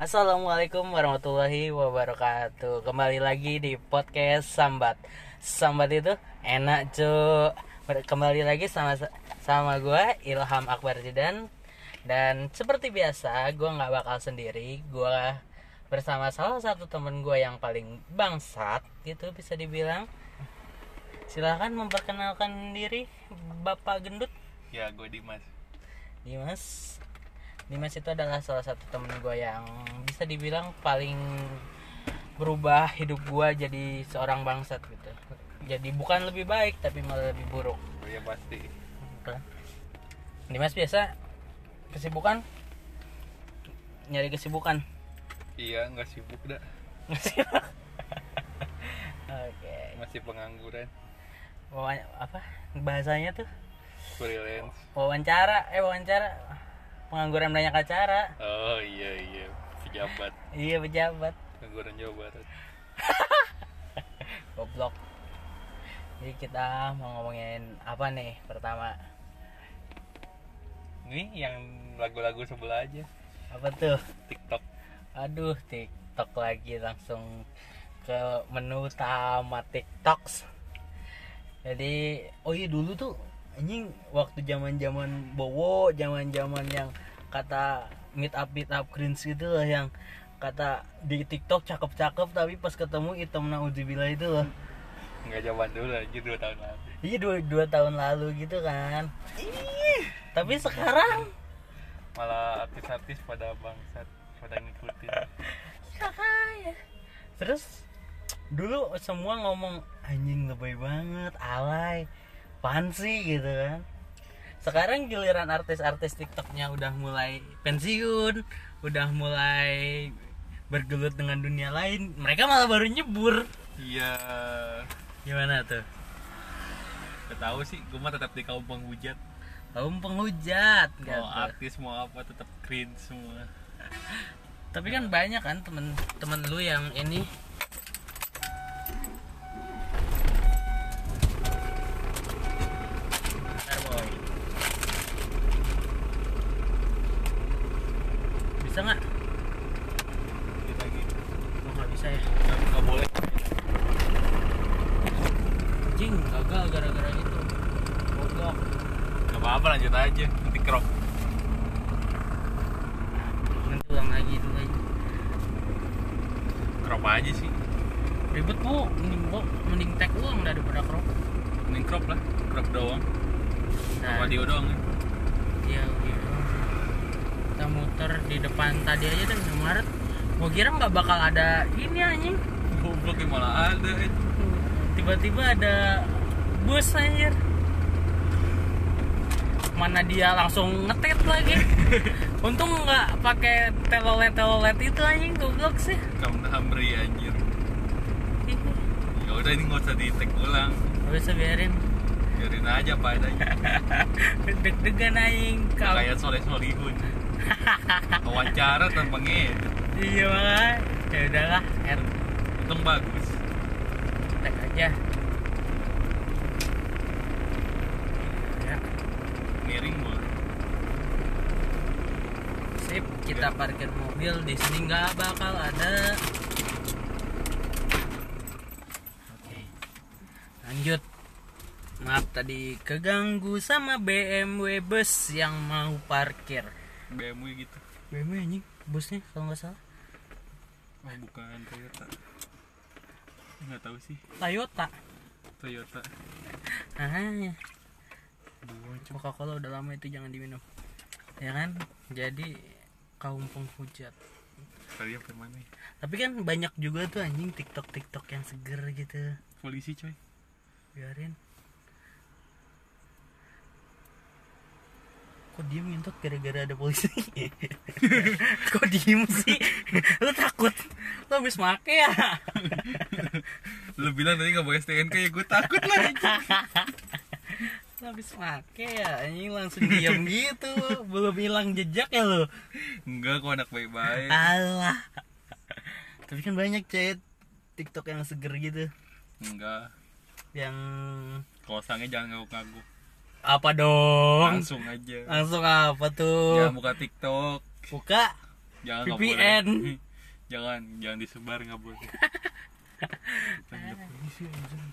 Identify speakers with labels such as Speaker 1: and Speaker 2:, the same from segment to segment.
Speaker 1: Assalamualaikum warahmatullahi wabarakatuh Kembali lagi di podcast Sambat Sambat itu enak cu Ber- Kembali lagi sama sama gue Ilham Akbar Zidan Dan seperti biasa gue nggak bakal sendiri Gue bersama salah satu temen gue yang paling bangsat gitu bisa dibilang Silahkan memperkenalkan diri Bapak Gendut
Speaker 2: Ya, gue Dimas.
Speaker 1: Dimas Dimas itu adalah salah satu temen gue yang bisa dibilang paling berubah hidup gue jadi seorang bangsat gitu jadi bukan lebih baik tapi malah lebih buruk
Speaker 2: Ya pasti.
Speaker 1: Dimas biasa kesibukan nyari kesibukan
Speaker 2: Iya, nggak sibuk dah.
Speaker 1: oke
Speaker 2: Masih pengangguran.
Speaker 1: Wawan- apa bahasanya tuh
Speaker 2: Freelance.
Speaker 1: wawancara eh wawancara pengangguran banyak acara
Speaker 2: Oh iya iya. Pejabat.
Speaker 1: iya pejabat
Speaker 2: Pengangguran Jawa Barat.
Speaker 1: goblok jadi kita mau ngomongin apa nih pertama
Speaker 2: Nih yang lagu-lagu sebelah aja.
Speaker 1: apa tuh
Speaker 2: TikTok.
Speaker 1: aduh tiktok lagi langsung ke menu utama tiktoks jadi oh iya dulu tuh anjing waktu zaman zaman bowo zaman zaman yang kata meet up meet up cringe gitu loh yang kata di tiktok cakep cakep tapi pas ketemu hitam nauzubillah itu loh
Speaker 2: Nggak zaman dulu aja dua tahun lalu.
Speaker 1: iya dua, dua tahun lalu gitu kan tapi sekarang
Speaker 2: Malah artis-artis pada bangsat pada ngikutin.
Speaker 1: Kakaknya. Terus dulu semua ngomong anjing lebay banget, alay, pansi gitu kan. Sekarang giliran artis-artis TikToknya udah mulai pensiun, udah mulai bergelut dengan dunia lain, mereka malah baru nyebur.
Speaker 2: Iya.
Speaker 1: Gimana tuh?
Speaker 2: Gak tahu sih, gue mah tetap di kaum penghujat.
Speaker 1: Kaum penghujat
Speaker 2: Mau
Speaker 1: gitu.
Speaker 2: artis mau apa tetap cringe semua.
Speaker 1: Tapi kan banyak kan temen-temen lu yang ini Bentar, Boy. Bisa nggak?
Speaker 2: Kita gitu.
Speaker 1: Oh, nggak bisa ya.
Speaker 2: Nggak nggak boleh.
Speaker 1: Jing, gagal gara-gara itu. Bodoh.
Speaker 2: Gak apa-apa lanjut aja. Nanti krok.
Speaker 1: Nanti ulang lagi itu lagi.
Speaker 2: Krok aja sih.
Speaker 1: Ribet bu, mending bu, mending tag ulang daripada krok.
Speaker 2: Mending crop lah, crop doang,
Speaker 1: Nah,
Speaker 2: audio doang ya.
Speaker 1: Iya, iya. Kita muter di depan tadi aja dan Indomaret. Gua kira nggak bakal ada ini anjing.
Speaker 2: Goblok ya malah ada. eh.
Speaker 1: Tiba-tiba ada bus anjir. Mana dia langsung ngetit lagi. Untung nggak pakai telolet-telolet itu anjing goblok sih.
Speaker 2: Kamu hamri anjir.
Speaker 1: Ih,
Speaker 2: Ya udah ini nggak usah di take ulang,
Speaker 1: Gak bisa biarin
Speaker 2: biarin aja apa adanya.
Speaker 1: deg-degan anjing
Speaker 2: Nggak
Speaker 1: kau.
Speaker 2: Kayak soleh solihun. Wawancara tanpa ngedit,
Speaker 1: Iya makanya. Ya udahlah, air
Speaker 2: untung bagus.
Speaker 1: Tek aja. Ya.
Speaker 2: Miring mulu.
Speaker 1: Sip, kita parkir mobil di sini nggak bakal ada. Oke, lanjut. Maaf tadi keganggu sama BMW bus yang mau parkir.
Speaker 2: BMW gitu.
Speaker 1: BMW anjing busnya kalau nggak salah
Speaker 2: Oh bukan Toyota. Nggak tahu sih
Speaker 1: Toyota.
Speaker 2: Toyota.
Speaker 1: Ah,
Speaker 2: Buang cuma
Speaker 1: Coca-Cola udah lama itu jangan diminum. Ya kan? Jadi kaum penghujat.
Speaker 2: tadi apa mana? ya?
Speaker 1: Tapi kan banyak juga tuh anjing TikTok-TikTok yang seger gitu.
Speaker 2: Polisi coy.
Speaker 1: biarin kok diem ngentot gara-gara ada polisi kok diem sih lu takut lu habis make ya
Speaker 2: Lu bilang tadi nggak pakai STNK ya gue takut lah.
Speaker 1: lu habis make ya ini langsung diem gitu belum hilang jejak ya lu
Speaker 2: Enggak kok anak baik-baik.
Speaker 1: alah tapi kan banyak chat tiktok yang seger gitu
Speaker 2: Enggak.
Speaker 1: yang
Speaker 2: Kosangnya jangan ngaguk-ngaguk.
Speaker 1: apa dong
Speaker 2: Langsung aja.
Speaker 1: langsung apa
Speaker 2: Ya
Speaker 1: tuh
Speaker 2: buka TikTok.
Speaker 1: buka
Speaker 2: jangan nggak
Speaker 1: VPN.
Speaker 2: boleh. jangan jangan disebar nggak boleh Tanda polisi anjing.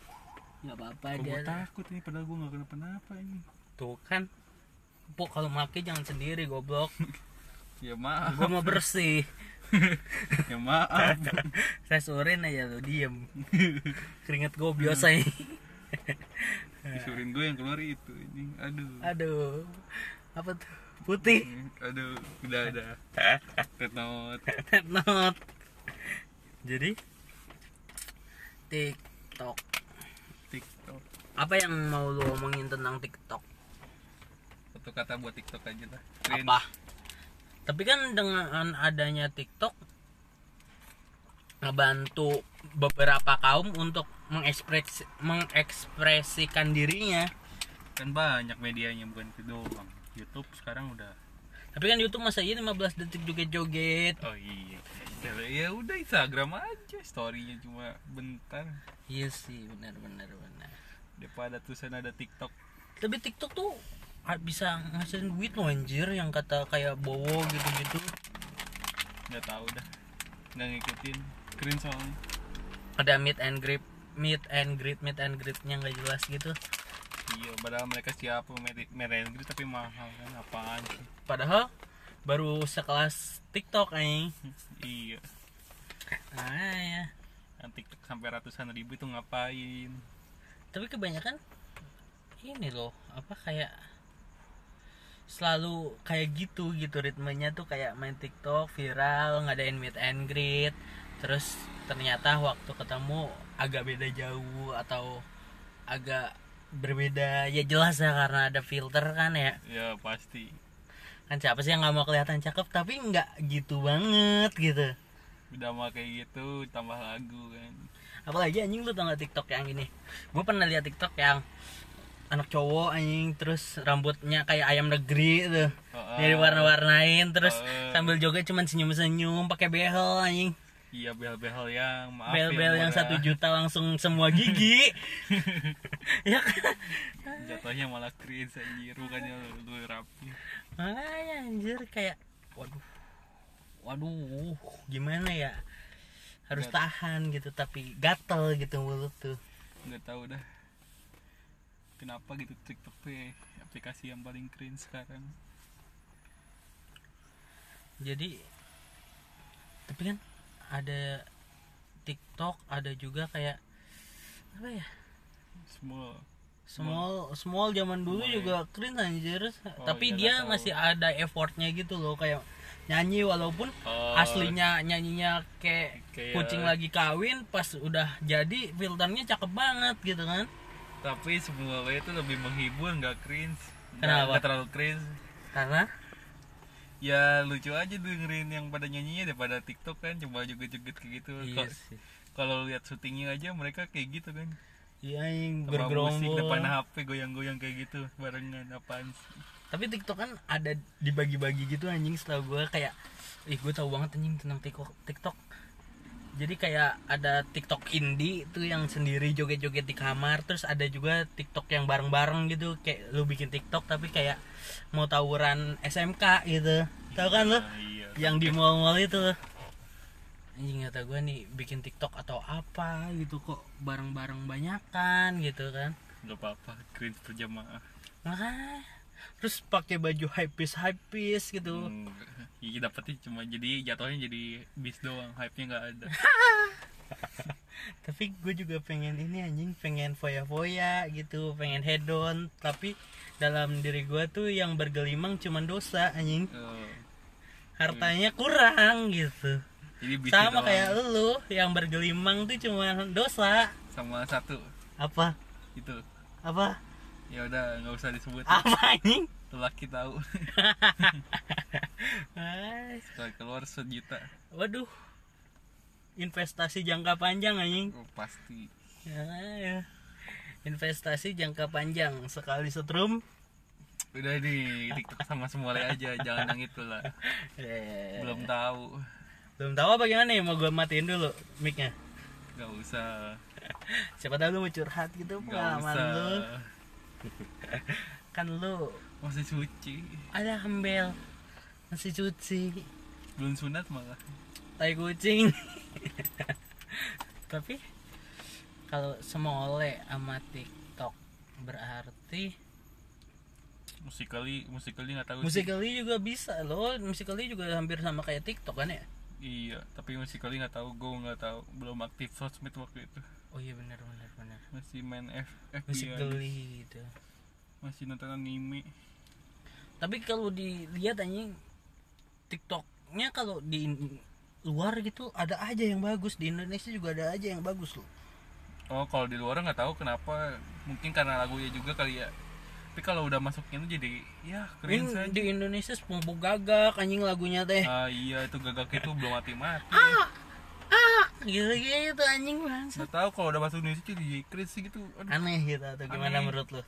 Speaker 1: nggak apa-apa
Speaker 2: Kok
Speaker 1: dia
Speaker 2: gua takut nih padahal gua nggak kenapa-napa ini
Speaker 1: tuh kan bu kalau maki jangan sendiri goblok
Speaker 2: ya maaf
Speaker 1: gua mau bersih
Speaker 2: ya maaf
Speaker 1: saya urin aja lu diem keringet gua biasa ini
Speaker 2: disurin gue yang keluar itu ini aduh
Speaker 1: aduh apa tuh putih
Speaker 2: aduh udah ada red note
Speaker 1: not jadi TikTok
Speaker 2: tiktok
Speaker 1: apa yang mau lu omongin tentang TikTok
Speaker 2: satu kata buat tiktok aja lah Cringe.
Speaker 1: apa tapi kan dengan adanya TikTok ngebantu beberapa kaum untuk mengekspres mengekspresikan dirinya
Speaker 2: kan banyak medianya bukan itu doang YouTube sekarang udah
Speaker 1: tapi kan YouTube masa iya 15 detik joget-joget
Speaker 2: oh iya ya udah Instagram aja storynya cuma bentar
Speaker 1: iya sih benar benar benar
Speaker 2: daripada tulisan ada TikTok
Speaker 1: tapi TikTok tuh a- bisa ngasilin duit loh anjir yang kata kayak Bowo gitu-gitu
Speaker 2: nggak tahu dah nggak ngikutin keren soalnya
Speaker 1: ada meet and greet meet and greet meet and greetnya nggak jelas gitu
Speaker 2: iya padahal mereka siapa meri- merenggi tapi mahal kan apaan sih
Speaker 1: padahal baru sekelas TikTok eh. nih
Speaker 2: iya
Speaker 1: ah ya
Speaker 2: kan TikTok sampai ratusan ribu itu ngapain
Speaker 1: tapi kebanyakan ini loh apa kayak selalu kayak gitu gitu ritmenya tuh kayak main TikTok viral ngadain meet and greet terus ternyata waktu ketemu agak beda jauh atau agak berbeda ya jelas ya karena ada filter kan ya
Speaker 2: ya pasti
Speaker 1: kan siapa sih yang nggak mau kelihatan cakep tapi nggak gitu banget gitu
Speaker 2: udah mah kayak gitu tambah lagu kan
Speaker 1: apalagi anjing lu tau gak tiktok yang ini gue pernah lihat tiktok yang anak cowok anjing terus rambutnya kayak ayam negeri tuh
Speaker 2: Heeh.
Speaker 1: jadi warna-warnain terus
Speaker 2: Heeh.
Speaker 1: sambil joget cuman senyum-senyum pakai behel anjing
Speaker 2: iya bel-bel yang maaf ya,
Speaker 1: bel-bel yang
Speaker 2: murah.
Speaker 1: satu juta langsung semua gigi ya kan
Speaker 2: jatuhnya malah cringe anjir bukannya lu, lu rapi
Speaker 1: Makanya anjir kayak waduh waduh gimana ya harus tahan gitu tapi gatel gitu mulut tuh
Speaker 2: nggak tahu dah kenapa gitu TikTok tuh ya, aplikasi yang paling cringe sekarang
Speaker 1: jadi tapi kan ada TikTok ada juga kayak apa ya
Speaker 2: semua
Speaker 1: small small zaman dulu
Speaker 2: Small,
Speaker 1: juga keren anjir tapi
Speaker 2: iya,
Speaker 1: dia
Speaker 2: tahu.
Speaker 1: masih ada effortnya gitu loh kayak nyanyi walaupun
Speaker 2: Oh,
Speaker 1: aslinya nyanyinya kayak,
Speaker 2: Kayak-
Speaker 1: kucing lagi kawin pas udah jadi filternya cakep banget gitu kan
Speaker 2: tapi semua way itu lebih menghibur nggak cringe Nggak-
Speaker 1: Kenapa?
Speaker 2: nggak terlalu cringe
Speaker 1: karena
Speaker 2: ya lucu aja dengerin yang pada nyanyinya daripada TikTok kan coba joget-joget kayak gitu
Speaker 1: iya
Speaker 2: Kok-
Speaker 1: sih
Speaker 2: kalau lihat syutingnya aja mereka kayak gitu kan
Speaker 1: iya yang
Speaker 2: Sama musik depan
Speaker 1: bergerombol
Speaker 2: HP goyang-goyang kayak gitu barengan apaan sih
Speaker 1: tapi TikTok kan ada dibagi-bagi gitu anjing setelah gue kayak ih gue tahu banget anjing tentang TikTok TikTok jadi kayak ada TikTok indie tuh yang sendiri joget-joget di kamar terus ada juga TikTok yang bareng-bareng gitu kayak lu bikin TikTok tapi kayak mau tawuran SMK gitu tau kan lu
Speaker 2: Ah, iya
Speaker 1: yang di mall-mall itu anjing kata gue nih bikin TikTok atau apa gitu kok bareng-bareng banyakan gitu kan
Speaker 2: nggak apa-apa cringe berjamaah
Speaker 1: Makanya terus pakai baju high piece high piece gitu.
Speaker 2: Hmm, iya dapetnya cuma jadi jatuhnya jadi bis doang hype nya nggak ada
Speaker 1: Tapi gue juga pengen ini anjing pengen foya-foya gitu, pengen head on, tapi dalam diri gue tuh yang bergelimang cuman dosa anjing.
Speaker 2: Eh,
Speaker 1: Hartanya kurang gitu.
Speaker 2: jadi bis
Speaker 1: Sama
Speaker 2: Hmm. doang.
Speaker 1: kayak lu yang bergelimang tuh cuman dosa.
Speaker 2: sama satu
Speaker 1: Apa?
Speaker 2: itu
Speaker 1: Apa?
Speaker 2: ya udah nggak usah disebut
Speaker 1: Apa anjing?
Speaker 2: lelaki tahu
Speaker 1: Ay,
Speaker 2: Setelah keluar sejuta
Speaker 1: Waduh. Investasi jangka panjang anjing.
Speaker 2: Oh, pasti
Speaker 1: Ya, ya. Investasi jangka panjang sekali setrum.
Speaker 2: udah nih tiktok sama semuanya aja jangan yang itu lah
Speaker 1: Eh,
Speaker 2: belum tahu
Speaker 1: belum tahu apa gimana ya mau gue matiin dulu micnya.
Speaker 2: nggak usah
Speaker 1: Siapa tahu lu mau curhat gitu
Speaker 2: nggak
Speaker 1: pengalaman
Speaker 2: usah
Speaker 1: lu. Kan lu
Speaker 2: masih suci
Speaker 1: ada hembel masih cuci.
Speaker 2: belum sunat malah
Speaker 1: tai kucing tapi kalau semole sama TikTok berarti
Speaker 2: musikali musikali nggak tahu sih.
Speaker 1: musikali juga bisa loh musikali juga hampir sama kayak TikTok kan ya
Speaker 2: iya tapi musikali nggak tahu gue nggak tahu belum aktif sosmed waktu itu
Speaker 1: oh iya benar benar benar
Speaker 2: masih main F FB
Speaker 1: musikali gitu
Speaker 2: masih nonton anime
Speaker 1: tapi kalau dilihat anjing TikToknya kalau di in- luar gitu ada aja yang bagus di Indonesia juga ada aja yang bagus loh
Speaker 2: oh kalau di luar nggak tahu kenapa mungkin karena lagunya juga kali ya tapi kalau udah masuknya tuh jadi ya keren
Speaker 1: Ini
Speaker 2: saja
Speaker 1: di Indonesia sepupu gagak anjing lagunya teh
Speaker 2: ah iya itu gagak itu belum mati mati
Speaker 1: ah gitu gitu anjing banget
Speaker 2: nggak tahu kalau udah masuk Indonesia tuh jadi keren sih gitu Aduh,
Speaker 1: aneh gitu atau gimana
Speaker 2: Aneh.
Speaker 1: menurut lo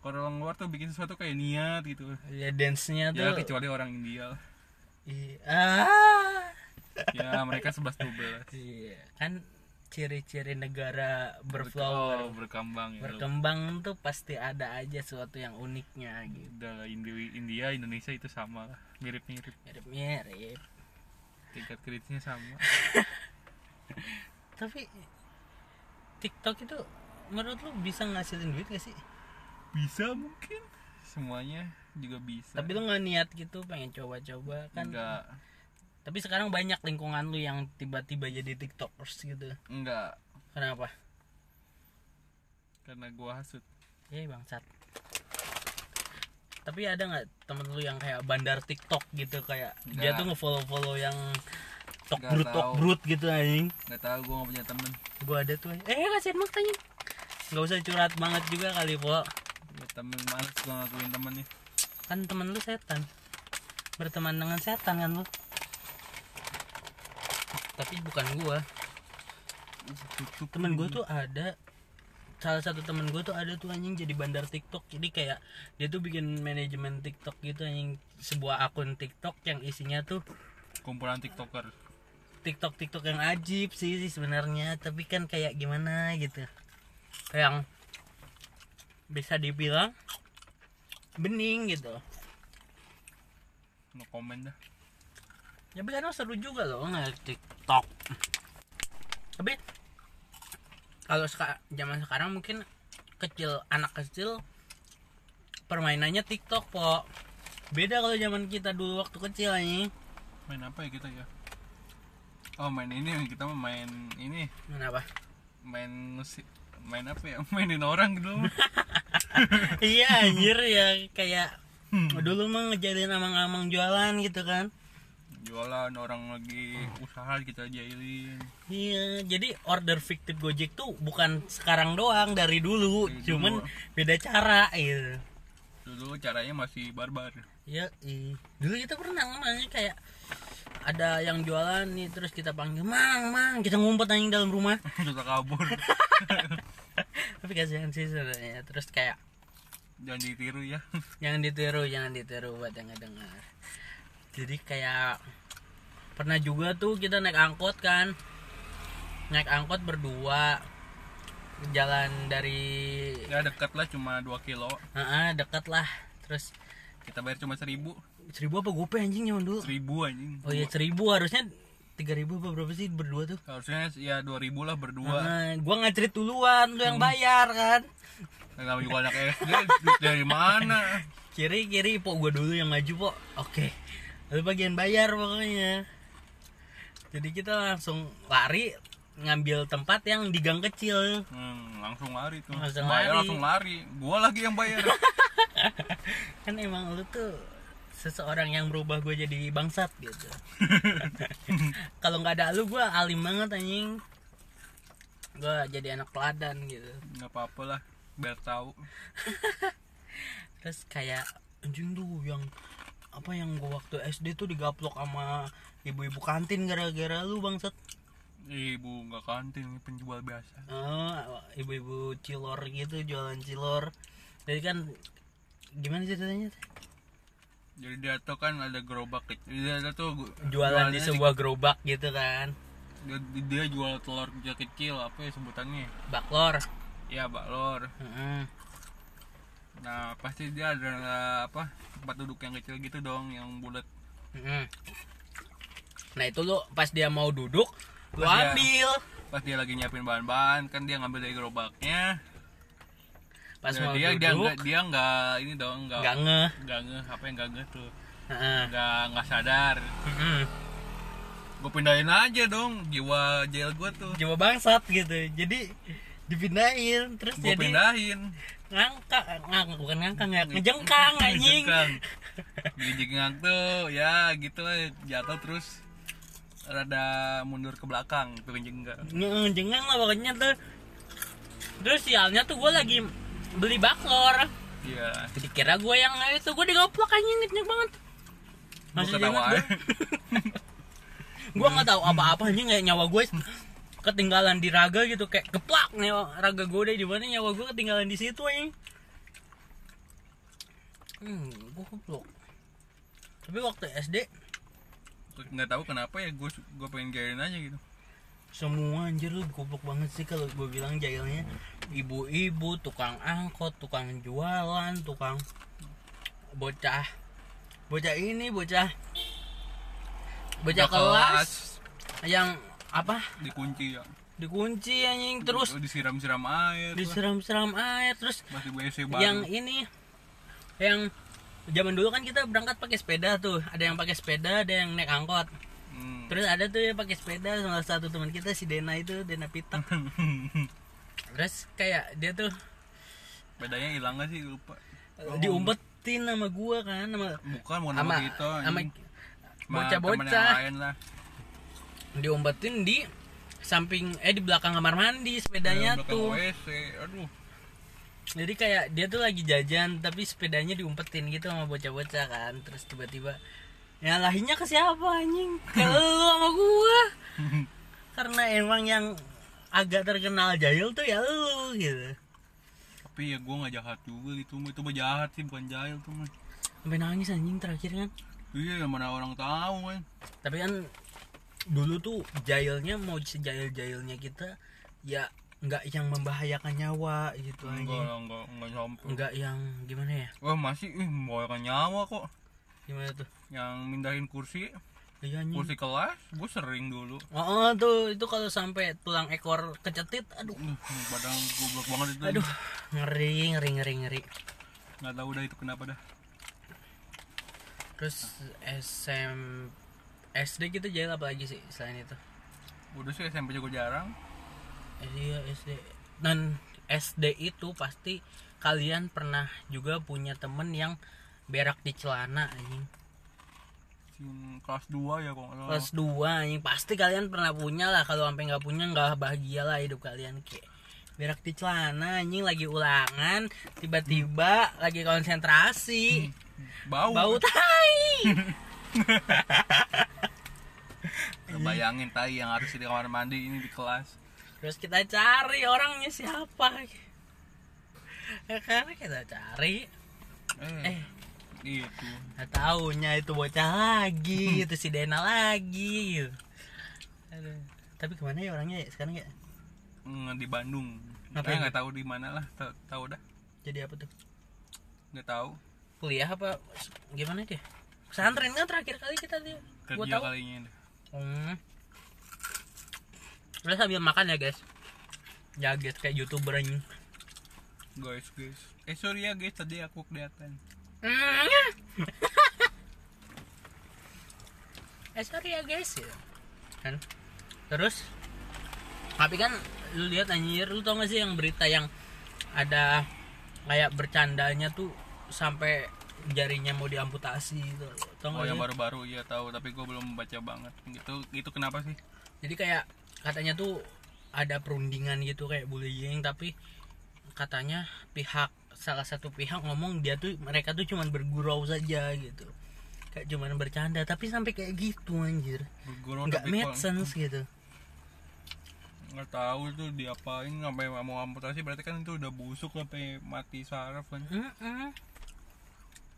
Speaker 2: kalau orang luar tuh bikin sesuatu kayak niat gitu
Speaker 1: ya dance nya
Speaker 2: ya
Speaker 1: tuh
Speaker 2: kecuali orang India lah.
Speaker 1: Iya. ah
Speaker 2: ya mereka 11-12
Speaker 1: iya kan ciri-ciri negara
Speaker 2: Oh,
Speaker 1: berflower
Speaker 2: berkembang ya
Speaker 1: berkembang tuh pasti ada aja sesuatu yang uniknya gitu
Speaker 2: udah lah, Indi- India Indonesia itu sama lah. mirip-mirip
Speaker 1: mirip-mirip
Speaker 2: tingkat kritisnya sama
Speaker 1: tapi TikTok itu menurut lu bisa ngasilin duit gak sih?
Speaker 2: bisa mungkin semuanya juga bisa
Speaker 1: Tapi lu nggak niat gitu pengen coba-coba kan?
Speaker 2: enggak
Speaker 1: Tapi sekarang banyak lingkungan lu yang tiba-tiba jadi tiktokers gitu.
Speaker 2: enggak
Speaker 1: Kenapa?
Speaker 2: karena gua hasut
Speaker 1: Ya bangsat. Tapi ada nggak temen lu yang kayak bandar tiktok gitu kayak dia
Speaker 2: Nggak.
Speaker 1: tuh ngefollow-follow yang tok
Speaker 2: Nggak
Speaker 1: brut tok
Speaker 2: tahu.
Speaker 1: brut gitu anjing.
Speaker 2: nggak tahu gua nggak punya temen
Speaker 1: Gua ada tuh. Eh kasihan banget anjing. Nggak usah curhat banget juga kali, Po.
Speaker 2: Gua temen males gua ngakuin temennya
Speaker 1: Kan temen lu setan. Berteman dengan setan kan lu. Tapi bukan gua.
Speaker 2: tutup
Speaker 1: temen gue tuh ada salah satu temen gue tuh ada tuh anjing jadi bandar TikTok jadi kayak dia tuh bikin manajemen TikTok gitu anjing sebuah akun TikTok yang isinya tuh
Speaker 2: kumpulan tiktoker
Speaker 1: TikTok TikTok yang ajib sih, sih sebenarnya tapi kan kayak gimana gitu yang bisa dibilang bening gitu
Speaker 2: no comment dah
Speaker 1: Ya, tapi kadang seru juga loh ngeliat TikTok tapi kalau seka- zaman sekarang mungkin kecil anak kecil permainannya TikTok po beda kalau zaman kita dulu waktu kecil anjing
Speaker 2: main apa ya kita ya oh main ini kita mah main ini
Speaker 1: kenapa
Speaker 2: main musik main apa ya mainin orang dulu
Speaker 1: iya anjir ya kayak dulu mah ngejalin amang-amang jualan gitu kan
Speaker 2: jualan orang lagi usaha kita jailin
Speaker 1: Iya, jadi order fiktif Gojek tuh bukan sekarang doang dari dulu,
Speaker 2: Dari
Speaker 1: cuman
Speaker 2: dulu.
Speaker 1: beda cara gitu.
Speaker 2: dulu caranya masih barbar
Speaker 1: Ya, dulu kita pernah namanya kayak ada yang jualan nih terus kita panggil mang mang kita ngumpet anjing dalam rumah
Speaker 2: kita kabur
Speaker 1: tapi kasihan sih sebenarnya terus kayak
Speaker 2: jangan ditiru ya
Speaker 1: jangan ditiru jangan ditiru buat yang ngedengar jadi kayak pernah juga tuh kita naik angkot kan naik angkot berdua jalan dari
Speaker 2: ya dekat lah cuma 2 kilo
Speaker 1: Heeh, dekat lah terus
Speaker 2: kita bayar cuma seribu
Speaker 1: seribu apa gope anjing zaman dulu
Speaker 2: seribu anjing
Speaker 1: oh iya seribu harusnya tiga ribu apa berapa sih berdua tuh
Speaker 2: harusnya ya 2000 lah berdua
Speaker 1: Nah, gua ngacerit duluan, lu yang bayar kan.
Speaker 2: Namanya juga anak SD duit dari mana
Speaker 1: Kiri kiri pok gua dulu yang maju pok. Oke. Lu bagian bayar pokoknya. Jadi kita langsung lari ngambil tempat yang di gang kecil.
Speaker 2: hmm, langsung lari tuh
Speaker 1: Langsung
Speaker 2: bayar
Speaker 1: lari.
Speaker 2: langsung lari gua lagi yang bayar
Speaker 1: Kan emang lu tuh seseorang yang berubah gue jadi bangsat gitu. Kalau nggak ada lu gua alim banget anjing. Gua jadi anak teladan gitu.
Speaker 2: nggak apa-apa lah biar tahu
Speaker 1: terus kayak anjing tuh yang apa yang gua waktu SD tuh digaplok sama ibu-ibu kantin gara-gara lu bangsat
Speaker 2: ibu nggak kantin ini penjual biasa
Speaker 1: Eh, ibu-ibu cilor gitu jualan cilor jadi kan gimana ceritanya Teh?
Speaker 2: jadi dia tuh kan ada gerobak kecil dia ada tuh gu-
Speaker 1: jualan di
Speaker 2: jualannya
Speaker 1: sebuah gerobak gitu kan
Speaker 2: dia, dia jual telur dia kecil apa ya sebutannya
Speaker 1: baklor
Speaker 2: ya baklor
Speaker 1: Heeh.
Speaker 2: nah pasti dia ada eh, apa tempat duduk yang kecil gitu dong yang bulat
Speaker 1: Heeh. nah itu lu pas dia mau duduk lu
Speaker 2: Pas dia-
Speaker 1: ambil
Speaker 2: pas dia lagi nyiapin bahan-bahan kan dia ngambil dari gerobaknya
Speaker 1: pas mau
Speaker 2: Nah, dia dia
Speaker 1: duduk
Speaker 2: nggak dia nggak ini dong nggak
Speaker 1: nggak ngeh
Speaker 2: nggak ngeh apa yang nggak ngeh tuh
Speaker 1: Heeh.
Speaker 2: nggak nggak sadar
Speaker 1: Mm-mm.
Speaker 2: gue pindahin aja dong jiwa jail gue tuh
Speaker 1: jiwa bangsat gitu jadi dipindahin terus
Speaker 2: gue
Speaker 1: jadi
Speaker 2: pindahin
Speaker 1: ngangkang ngangkang bukan ngangkang ya ngejengkang anjing
Speaker 2: Jengkang. Dijengang tuh ya gitu lah, jatuh terus rada mundur ke belakang tuh jengkang
Speaker 1: ngejengkang lah pokoknya tuh terus sialnya tuh gue lagi beli baklor
Speaker 2: iya
Speaker 1: dikira gue yang itu gue digoplok anjing ngejeng banget
Speaker 2: gue
Speaker 1: Masih
Speaker 2: ketawa
Speaker 1: ingat gue nggak tahu apa-apa anjing kayak nyawa gue ketinggalan di raga gitu kayak keplak nih raga gue udah di mana nyawa gue ketinggalan di situ anjing hmm gue goblok tapi waktu SD
Speaker 2: nggak tahu kenapa ya gue gue pengen gayain aja gitu
Speaker 1: semua anjir lu goblok banget sih kalau gue bilang jahilnya ibu-ibu tukang angkot tukang jualan tukang bocah bocah ini bocah bocah
Speaker 2: Udah
Speaker 1: kelas yang apa
Speaker 2: dikunci ya
Speaker 1: dikunci anjing terus
Speaker 2: disiram-siram air lah.
Speaker 1: disiram-siram air terus
Speaker 2: masih WC baru
Speaker 1: yang ini yang zaman dulu kan kita berangkat pakai sepeda tuh ada yang pakai sepeda ada yang naik angkot
Speaker 2: Hmm.
Speaker 1: terus ada tuh yang pakai sepeda salah satu teman kita si Dena itu Dena Pitak
Speaker 2: Hmm.
Speaker 1: terus kayak dia tuh
Speaker 2: bedanya hilang gak sih lupa
Speaker 1: eh,
Speaker 2: Oh.
Speaker 1: diumpetin sama gua kan sama
Speaker 2: bukan bukan
Speaker 1: sama
Speaker 2: sama gitu
Speaker 1: sama
Speaker 2: anjing. Sama temen yang
Speaker 1: bocah-bocah
Speaker 2: lain lah
Speaker 1: diumpetin di samping eh di belakang kamar mandi sepedanya
Speaker 2: Iya, Belakang
Speaker 1: tuh
Speaker 2: WC aduh
Speaker 1: jadi kayak dia tuh lagi jajan tapi sepedanya diumpetin gitu sama bocah-bocah kan terus tiba-tiba nyalahinnya ke siapa anjing ke lu sama gua karena emang yang agak terkenal jahil tuh ya lu gitu
Speaker 2: tapi ya gue nggak jahat juga gitu mah. itu mah jahat sih bukan jahil tuh mah
Speaker 1: sampai nangis anjing terakhir kan
Speaker 2: iya yang mana orang tahu kan
Speaker 1: tapi kan dulu tuh jahilnya mau sejahil jahilnya kita ya nggak yang membahayakan nyawa gitu
Speaker 2: enggak
Speaker 1: anjing
Speaker 2: lah, enggak enggak sampai
Speaker 1: nggak yang gimana ya
Speaker 2: wah masih ih membawakan nyawa kok
Speaker 1: gimana tuh
Speaker 2: yang mindahin kursi
Speaker 1: iya anjing
Speaker 2: kursi kelas gue sering dulu
Speaker 1: Oh, tuh itu kalau sampai tulang ekor kecetit, aduh,
Speaker 2: Uh, padahal goblok banget itu
Speaker 1: aduh, ngeri, ngeri, ngeri, ngeri.
Speaker 2: nggak tahu dah itu kenapa dah
Speaker 1: Terus SM, SD gitu jahil apa lagi sih selain itu?
Speaker 2: udah sih SMP juga jarang
Speaker 1: SD, ya, SD. Dan SD itu pasti kalian pernah juga punya temen yang berak di celana anjing.
Speaker 2: Sin- kelas 2 ya kok nggak salah.
Speaker 1: Kelas 2 anjing pasti kalian pernah punya lah kalau sampai nggak punya nggak bahagia lah hidup kalian kayak berak di celana anjing lagi ulangan tiba-tiba lagi konsentrasi
Speaker 2: bau,
Speaker 1: bau tai
Speaker 2: Iya. bayangin tai yang harus di kamar mandi ini di kelas
Speaker 1: terus kita cari orangnya siapa ya kan kita cari
Speaker 2: eh, gitu.
Speaker 1: eh
Speaker 2: itu
Speaker 1: nggak taunya itu bocah lagi itu si Dena lagi gitu. Aduh. tapi kemana ya orangnya ya sekarang ya
Speaker 2: Mm, di Bandung
Speaker 1: Ngapain?
Speaker 2: Saya nggak tahu di mana lah Ta- tahu dah
Speaker 1: jadi apa tuh
Speaker 2: nggak tahu
Speaker 1: kuliah apa gimana dia pesantren kan terakhir kali kita dia gua
Speaker 2: kerja
Speaker 1: tahu
Speaker 2: kalinya
Speaker 1: hmm. Udah sambil makan ya guys jaget kayak youtuber anjing
Speaker 2: guys guys eh sorry ya guys tadi aku kelihatan
Speaker 1: Mm. eh sorry ya guys gitu. kan terus tapi kan lu lihat anjir lu tau gak sih yang berita yang ada kayak bercandanya tuh sampai jarinya mau diamputasi gitu tau
Speaker 2: Oh
Speaker 1: gak
Speaker 2: yang
Speaker 1: sih?
Speaker 2: baru-baru ya tahu tapi gue belum baca banget gitu itu kenapa sih
Speaker 1: jadi kayak katanya tuh ada perundingan gitu kayak bullying tapi katanya pihak salah satu pihak ngomong dia tuh mereka tuh cuman bergurau saja gitu kayak cuman bercanda tapi sampai kayak gitu anjir
Speaker 2: guru
Speaker 1: nggak
Speaker 2: tapi
Speaker 1: make
Speaker 2: kok-
Speaker 1: sense gitu
Speaker 2: nggak tahu tuh diapain sampai mau amputasi berarti kan itu udah busuk sampai mati saraf kan
Speaker 1: Mm-mm.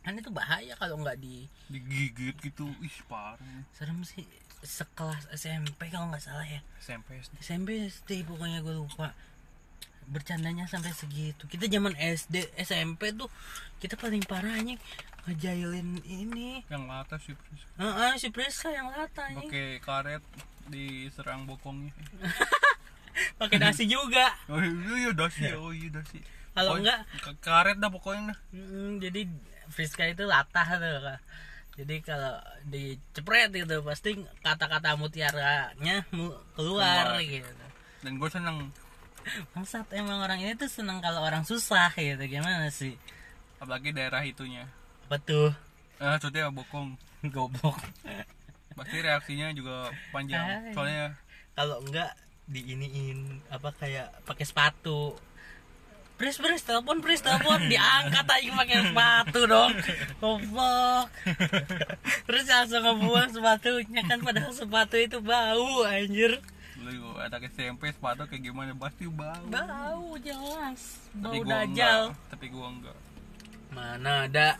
Speaker 1: kan itu bahaya kalau nggak di
Speaker 2: digigit gitu ih parah
Speaker 1: serem sih sekelas SMP kalau nggak salah ya
Speaker 2: SMP SD
Speaker 1: SMP SD pokoknya gue lupa bercandanya sampai segitu kita zaman SD SMP tuh kita paling parahnya ngejailin ini
Speaker 2: yang atas sih Pris.
Speaker 1: Heeh, si Priska yang lata anjing.
Speaker 2: pakai karet diserang bokongnya
Speaker 1: pakai dasi juga
Speaker 2: oh iya iya dasi oh iya dasi
Speaker 1: Kalau
Speaker 2: Pokoknya
Speaker 1: enggak-
Speaker 2: ke- karet dah pokoknya dah
Speaker 1: Mm, jadi Friska itu latah tuh Kak. jadi kalau dicepret gitu pasti kata-kata mutiaranya mu- keluar,
Speaker 2: Keluar.
Speaker 1: gitu
Speaker 2: dan gue seneng
Speaker 1: Bangsat emang orang ini tuh seneng kalau orang susah gitu gimana sih
Speaker 2: apalagi daerah itunya
Speaker 1: apa tuh
Speaker 2: eh maksudnya bokong
Speaker 1: goblok
Speaker 2: pasti reaksinya juga
Speaker 1: Hai.
Speaker 2: panjang soalnya
Speaker 1: kalau enggak diiniin apa kayak pakai sepatu Pris, Pris, telepon, Pris, telepon Diangkat aja pakai sepatu dong Goblok Terus langsung ngebuang sepatunya Kan padahal sepatu itu bau anjir
Speaker 2: dulu gue anak SMP sepatu kayak gimana pasti bau
Speaker 1: Bau jelas
Speaker 2: tapi
Speaker 1: Bau
Speaker 2: gue
Speaker 1: dajal
Speaker 2: enggak tapi gue enggak
Speaker 1: Mana ada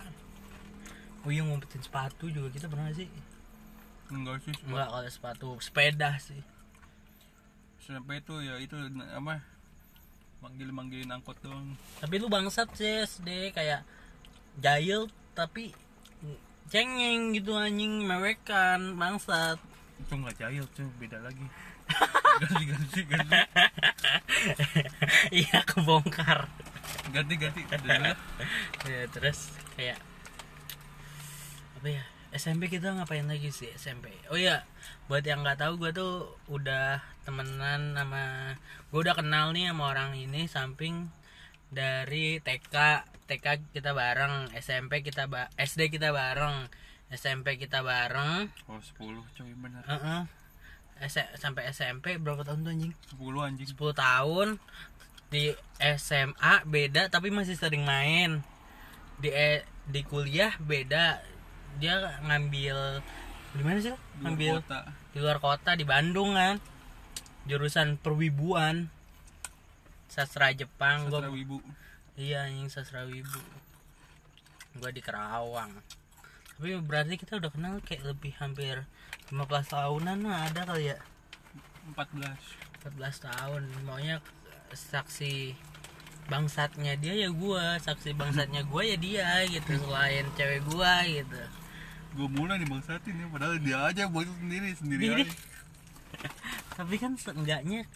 Speaker 1: Uyung ngumpetin sepatu juga kita pernah sih
Speaker 2: enggak sih
Speaker 1: Enggak kalau sepatu Sepeda sih
Speaker 2: SMP itu ya itu na- apa manggil manggilin angkot dong
Speaker 1: Tapi lu bangsat sih SD kayak Jahil tapi Cengeng gitu anjing Mewekan bangsat
Speaker 2: itu nggak jahil tuh beda lagi ganti ganti ganti
Speaker 1: Iya kebongkar
Speaker 2: ganti ganti Udah,
Speaker 1: ya, Terus kayak Apa ya SMP kita ngapain lagi sih SMP Oh iya Buat yang nggak tahu gue tuh udah temenan sama Gue udah kenal nih sama orang ini Samping dari TK TK kita bareng SMP kita ba SD kita bareng SMP kita bareng
Speaker 2: oh sepuluh coy bener
Speaker 1: Heeh. S- sampai SMP berapa tahun tuh anjing?
Speaker 2: sepuluh anjing
Speaker 1: 10 tahun di SMA beda tapi masih sering main. Di e- di kuliah beda. Dia ngambil di mana sih? lo?
Speaker 2: Dua
Speaker 1: Ngambil
Speaker 2: kota
Speaker 1: di luar kota di Bandung kan. Jurusan perwibuan. Sastra Jepang gua-
Speaker 2: sastra wibu
Speaker 1: Iya anjing sastra wibu Gua di Kerawang Tapi berarti kita udah kenal kayak lebih hampir 15 tahunan lah ada kali ya
Speaker 2: empat belas
Speaker 1: 14 tahun Maunya saksi bangsatnya dia ya gua Saksi bangsatnya gua ya dia gitu Selain cewek gua gitu
Speaker 2: gue mulai dibangsatin ya padahal dia aja buat sendiri sendiri
Speaker 1: Diri.
Speaker 2: aja
Speaker 1: Tapi kan seenggaknya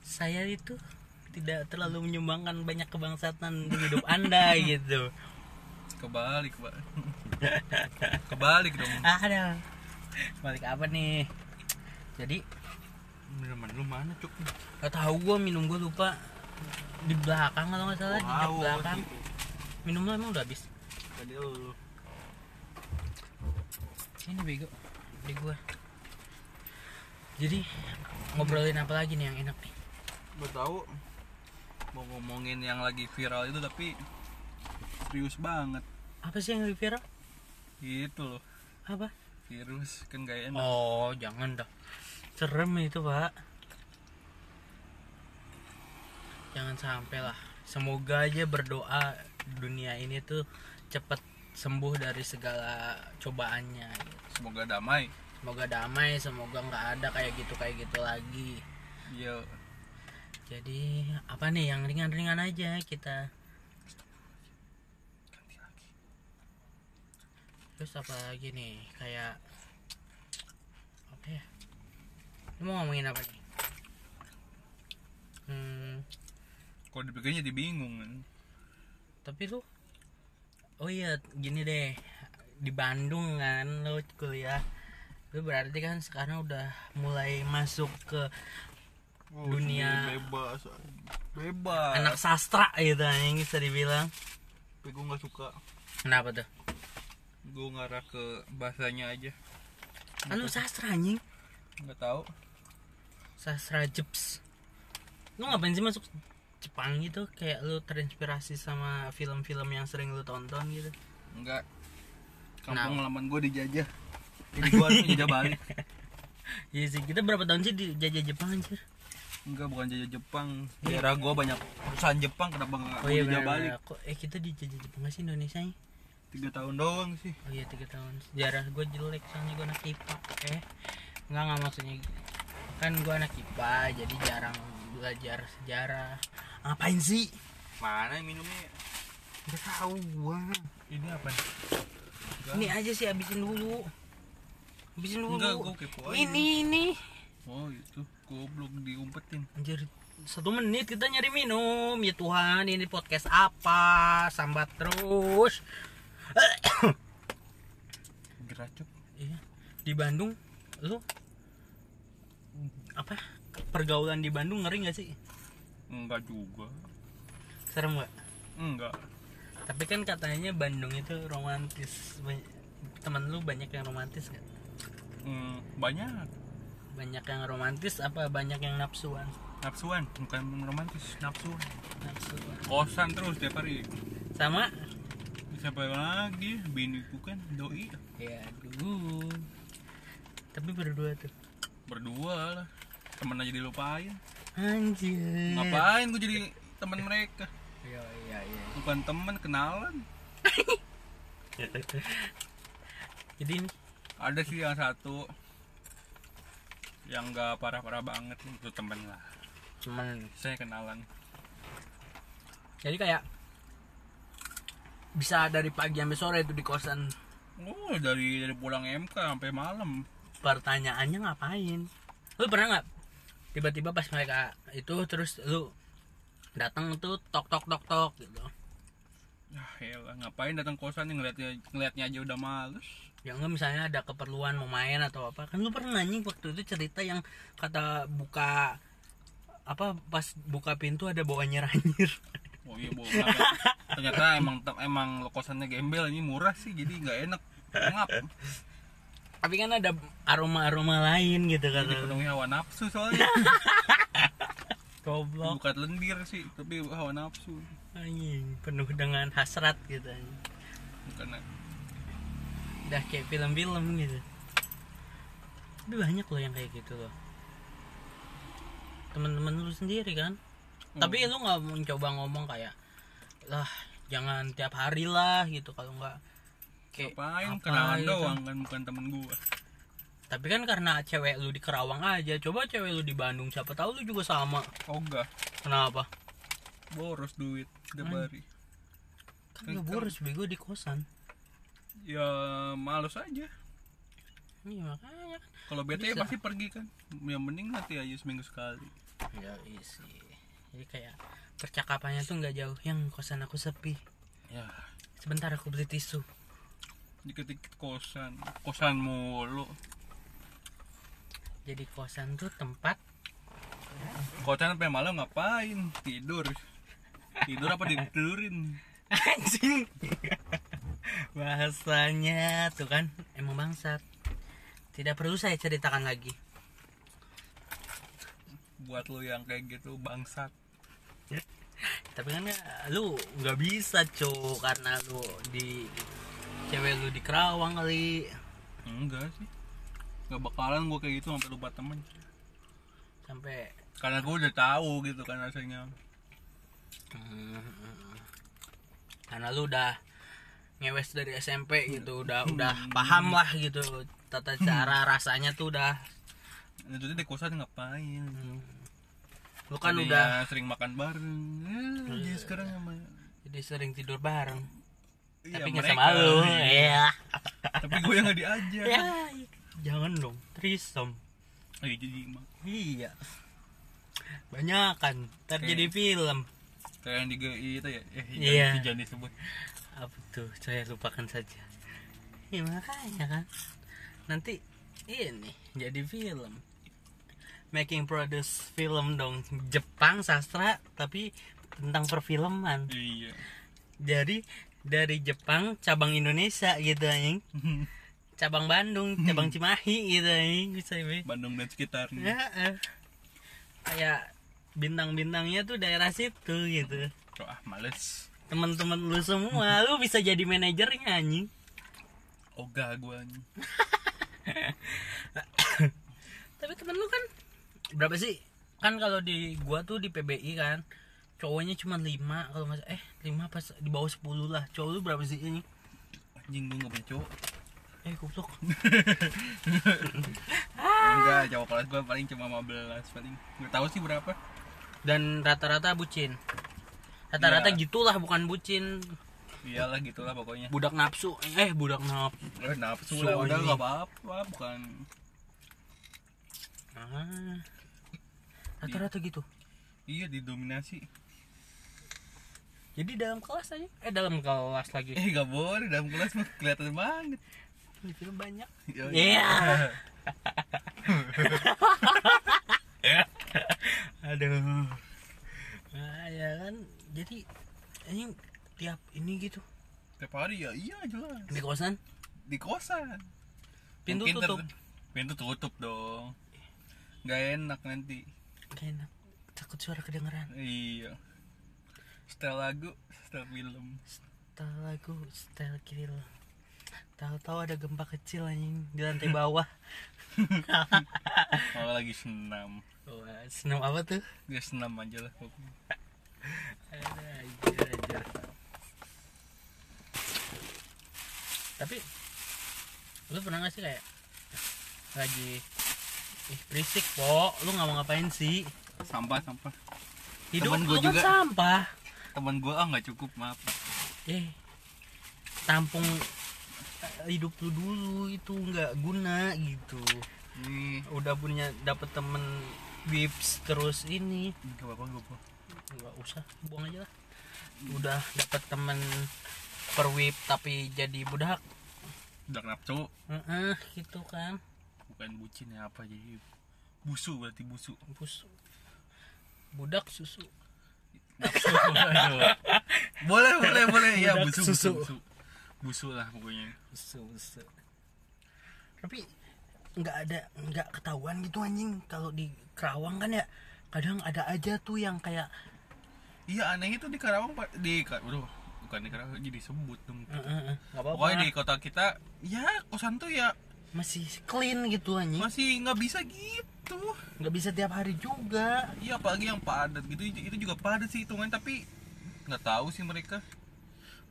Speaker 1: Saya itu tidak terlalu menyumbangkan banyak kebangsatan di hidup anda gitu
Speaker 2: kebalik pak kebalik dong
Speaker 1: ada balik apa nih jadi
Speaker 2: minuman lu mana cuk
Speaker 1: gak tahu gue minum gue lupa di belakang kalau nggak salah di jok belakang minum lo emang udah habis
Speaker 2: tadi lu
Speaker 1: ini bego di gue jadi ngobrolin apa lagi nih yang enak nih
Speaker 2: gak tahu mau ngomongin yang lagi viral itu tapi serius banget
Speaker 1: apa sih yang lebih viral
Speaker 2: gitu loh
Speaker 1: apa
Speaker 2: virus kan gak enak
Speaker 1: oh jangan dah serem itu pak jangan sampai lah semoga aja berdoa dunia ini tuh cepet sembuh dari segala cobaannya
Speaker 2: semoga damai
Speaker 1: semoga damai semoga nggak ada kayak gitu kayak gitu lagi
Speaker 2: iya
Speaker 1: jadi apa nih yang ringan-ringan aja kita
Speaker 2: ganti lagi
Speaker 1: terus apa lagi nih kayak apa ya Lu mau ngomongin apa nih hmm
Speaker 2: kalau dipikirnya jadi bingung kan
Speaker 1: tapi lu oh iya gini deh di Bandung kan lu kuliah lu berarti kan sekarang udah mulai masuk ke Dunia.
Speaker 2: Oh, iya, bebas bebas
Speaker 1: anak sastra gitu yang bisa dibilang
Speaker 2: tapi gue nggak suka
Speaker 1: kenapa tuh
Speaker 2: gue ngarah ke bahasanya aja
Speaker 1: kan lu sastra anjing
Speaker 2: nggak tahu
Speaker 1: sastra jeps lu ngapain sih masuk Jepang gitu kayak lu terinspirasi sama film-film yang sering lu tonton gitu
Speaker 2: Enggak. Kampung
Speaker 1: Nah.
Speaker 2: halaman gue dijajah. Jadi gue harus jajah balik.
Speaker 1: iya sih kita berapa tahun sih di jajah Jepang anjir
Speaker 2: Enggak, bukan jajah Jepang. Daerah gue banyak perusahaan Jepang, kenapa enggak
Speaker 1: oh
Speaker 2: gua
Speaker 1: iya
Speaker 2: jajah
Speaker 1: benar
Speaker 2: balik?
Speaker 1: kok eh kita di jajah Jepang nggak sih Indonesia ya?
Speaker 2: Tiga tahun doang sih.
Speaker 1: oh iya tiga tahun sejarah gue jelek soalnya gue anak IPA eh nggak nggak maksudnya kan gue anak IPA jadi jarang belajar sejarah ngapain sih
Speaker 2: Mana minumnya?
Speaker 1: Gak tahu gua.
Speaker 2: Ini apa?
Speaker 1: Ini aja sih habisin dulu. Habisin dulu.
Speaker 2: Enggak, gua kepo aja.
Speaker 1: ini ini.
Speaker 2: Oh itu goblok diumpetin.
Speaker 1: Anjir, satu menit kita nyari minum. Ya Tuhan, ini podcast apa? Sambat terus.
Speaker 2: Geracuk.
Speaker 1: Iya. Di Bandung, lu apa? Pergaulan di Bandung ngeri gak sih?
Speaker 2: Enggak juga.
Speaker 1: Serem gak?
Speaker 2: Enggak.
Speaker 1: Tapi kan katanya Bandung itu romantis. Ba- Temen lu banyak yang romantis gak?
Speaker 2: Hmm, banyak.
Speaker 1: Banyak yang romantis apa banyak yang nafsuan?
Speaker 2: Nafsuan, bukan romantis, nafsuan.
Speaker 1: Nafsuan.
Speaker 2: Kosan terus tiap hari.
Speaker 1: Sama?
Speaker 2: Siapa lagi? Bini bukan doi.
Speaker 1: Ya aduh. Tapi berdua tuh.
Speaker 2: Berdua lah. Temen aja dilupain.
Speaker 1: Anjir.
Speaker 2: Ngapain gue jadi teman mereka?
Speaker 1: Iya iya iya.
Speaker 2: Bukan teman, kenalan.
Speaker 1: Jadi ini
Speaker 2: Ada sih yang satu yang nggak parah-parah banget itu temen lah.
Speaker 1: cuman
Speaker 2: Saya kenalan.
Speaker 1: jadi kayak bisa dari pagi sampai sore itu di kosan.
Speaker 2: Oh dari dari pulang MK sampai malam.
Speaker 1: Pertanyaannya ngapain? Lu pernah nggak tiba-tiba pas mereka itu terus lu datang tuh tok tok tok tok gitu.
Speaker 2: Ya elah, ngapain datang kosan yang ngeliatnya ngeliatnya aja udah males.
Speaker 1: Ya enggak misalnya ada keperluan mau main atau apa. Kan lu pernah nanya waktu itu cerita yang kata buka apa pas buka pintu ada bau anjir-anjir.
Speaker 2: Oh iya, bu. Kenapa? Ternyata emang emang lo kosannya gembel ini murah sih, jadi nggak enak. Ngap.
Speaker 1: tapi kan ada aroma-aroma lain gitu kan
Speaker 2: Dipenuhi hawa nafsu soalnya.
Speaker 1: goblok
Speaker 2: Bukan lendir sih, tapi hawa nafsu.
Speaker 1: anjing penuh dengan hasrat gitu anjing.
Speaker 2: Bukan
Speaker 1: udah kayak film-film gitu tapi banyak loh yang kayak gitu loh teman-teman lu sendiri kan
Speaker 2: Hmm.
Speaker 1: tapi lu nggak mau coba ngomong kayak lah jangan tiap hari lah gitu kalau nggak kayak
Speaker 2: ngapain
Speaker 1: Eh, apa
Speaker 2: kenalan
Speaker 1: gitu.
Speaker 2: doang kan bukan temen gua.
Speaker 1: tapi kan karena cewek lu di Kerawang aja coba cewek lu di Bandung siapa tahu lu juga sama
Speaker 2: Ogah,
Speaker 1: kenapa
Speaker 2: boros duit udah bari.
Speaker 1: kan lu boros bego di kosan
Speaker 2: Ya males aja.
Speaker 1: iya makanya kan
Speaker 2: Kalau bete
Speaker 1: Bisa.
Speaker 2: pasti pergi kan. Yang mending nanti aja seminggu sekali.
Speaker 1: Ya isi. Jadi kayak percakapannya tuh nggak jauh. Yang kosan aku sepi.
Speaker 2: Ya,
Speaker 1: Sebentar aku beli tisu.
Speaker 2: dikit-dikit kosan, kosan mulu.
Speaker 1: Jadi kosan tuh tempat
Speaker 2: Kocan sampai malam ngapain? Tidur. Tidur apa ditidurin?
Speaker 1: anjing. Bahasanya tuh kan emang bangsat. Tidak perlu saya ceritakan lagi.
Speaker 2: Buat lo yang kayak gitu bangsat.
Speaker 1: Tapi kan ya, lu nggak bisa cu karena lu di cewek lu di Kerawang kali
Speaker 2: Enggak sih. Gak bakalan gue kayak gitu sampai lupa temen.
Speaker 1: sampai
Speaker 2: Karena gue udah tahu gitu kan rasanya.
Speaker 1: Hmm. karena lu udah ngewes dari SMP gitu udah
Speaker 2: Hmm.
Speaker 1: udah paham lah gitu tata cara rasanya tuh udah
Speaker 2: Dan Itu Nah, di kosan ngapain?
Speaker 1: lu kan
Speaker 2: Tadinya
Speaker 1: udah Iya.
Speaker 2: sering makan bareng. Eh, jadi sekarang sama
Speaker 1: jadi sering tidur bareng
Speaker 2: Iya,
Speaker 1: tapi nggak
Speaker 2: mereka. Iya.
Speaker 1: sama lu ya
Speaker 2: Tapi gue yang gak diajak.
Speaker 1: ya jangan dong trisom
Speaker 2: Eh, jadi mah.
Speaker 1: iya banyak kan terjadi film
Speaker 2: Kayak yang di GI itu ya. Eh,
Speaker 1: Iya.
Speaker 2: jangan, jangan disebut.
Speaker 1: apa tuh saya lupakan saja ya makanya kan nanti ini jadi film making produce film dong Jepang sastra tapi tentang perfilman
Speaker 2: Iya.
Speaker 1: jadi dari Jepang cabang Indonesia gitu anjing cabang Bandung cabang Cimahi gitu anjing bisa ini.
Speaker 2: Bandung dan sekitarnya.
Speaker 1: ya eh. kayak bintang-bintangnya tuh daerah situ gitu
Speaker 2: Tuh, ah, males.
Speaker 1: teman-teman lu semua lu bisa jadi manajernya anjing
Speaker 2: Ogah gue. anjing.
Speaker 1: Tapi temen lu kan berapa sih? Kan kalau di gua tuh di PBI kan cowoknya cuma 5 kalau nggak salah. eh 5 pas di bawah 10 lah. Cowok lu berapa sih ini?
Speaker 2: Anjing gue gak punya cowok.
Speaker 1: Eh goblok.
Speaker 2: Enggak, cowok kelas gue paling cuma 15 paling. Gak tahu sih berapa.
Speaker 1: dan rata-rata bucin rata-rata
Speaker 2: Iya.
Speaker 1: gitulah bukan bucin
Speaker 2: iyalah gitulah pokoknya
Speaker 1: budak nafsu eh budak nafsu
Speaker 2: Eh, nafsu
Speaker 1: So
Speaker 2: lah udah
Speaker 1: ini.
Speaker 2: nggak apa-apa bukan
Speaker 1: Ah. rata-rata gitu
Speaker 2: iya didominasi
Speaker 1: jadi dalam kelas aja eh dalam kelas lagi
Speaker 2: eh gak boleh dalam kelas mah kelihatan banget
Speaker 1: di film banyak
Speaker 2: Iya.
Speaker 1: Iya. aduh nah, ya kan jadi ini tiap ini gitu
Speaker 2: tiap hari ya iya jelas
Speaker 1: di kosan
Speaker 2: di kosan
Speaker 1: Pintu
Speaker 2: ter-
Speaker 1: tutup.
Speaker 2: pintu tutup dong nggak enak nanti
Speaker 1: gak enak takut suara kedengeran
Speaker 2: iya setel lagu setel film
Speaker 1: setel lagu setel kiril tahu-tahu ada gempa kecil anjing di lantai bawah
Speaker 2: kalau lagi senam
Speaker 1: Wah, Eh, senam apa tuh
Speaker 2: dia senam aja lah pokoknya
Speaker 1: Ajar, ajar. tapi lu pernah gak sih kayak lagi ih berisik po lu nggak mau ngapain sih
Speaker 2: sampah sampah
Speaker 1: hidup
Speaker 2: Temen
Speaker 1: lu
Speaker 2: gua
Speaker 1: kan
Speaker 2: juga.
Speaker 1: sampah
Speaker 2: teman gua ah nggak cukup maaf
Speaker 1: eh tampung eh, hidup lu dulu itu nggak guna gitu
Speaker 2: ini
Speaker 1: udah punya dapet temen whips terus ini
Speaker 2: gak apa-apa gak apa-apa
Speaker 1: nggak usah buang aja lah udah dapet temen perwip tapi jadi budak
Speaker 2: udah nafsu
Speaker 1: Heeh, gitu kan
Speaker 2: bukan bucin ya apa jadi busu berarti busu
Speaker 1: Bus- budak susu
Speaker 2: Nafsu. boleh boleh boleh ya
Speaker 1: Budak
Speaker 2: busu
Speaker 1: susu.
Speaker 2: busu busu busu lah pokoknya
Speaker 1: susu susu tapi nggak ada nggak ketahuan gitu anjing kalau di Kerawang kan ya kadang ada aja tuh yang kayak
Speaker 2: iya aneh itu di Karawang Pak. di Ka- Waduh, bukan di Karawang jadi sebut dong
Speaker 1: "Eh, eh, eh, nggak
Speaker 2: pokoknya di kota kita ya kosan tuh ya
Speaker 1: masih clean gitu anjing
Speaker 2: masih nggak bisa gitu
Speaker 1: nggak bisa tiap hari juga
Speaker 2: iya apalagi yang padat gitu itu juga padat sih hitungan tapi nggak tahu sih mereka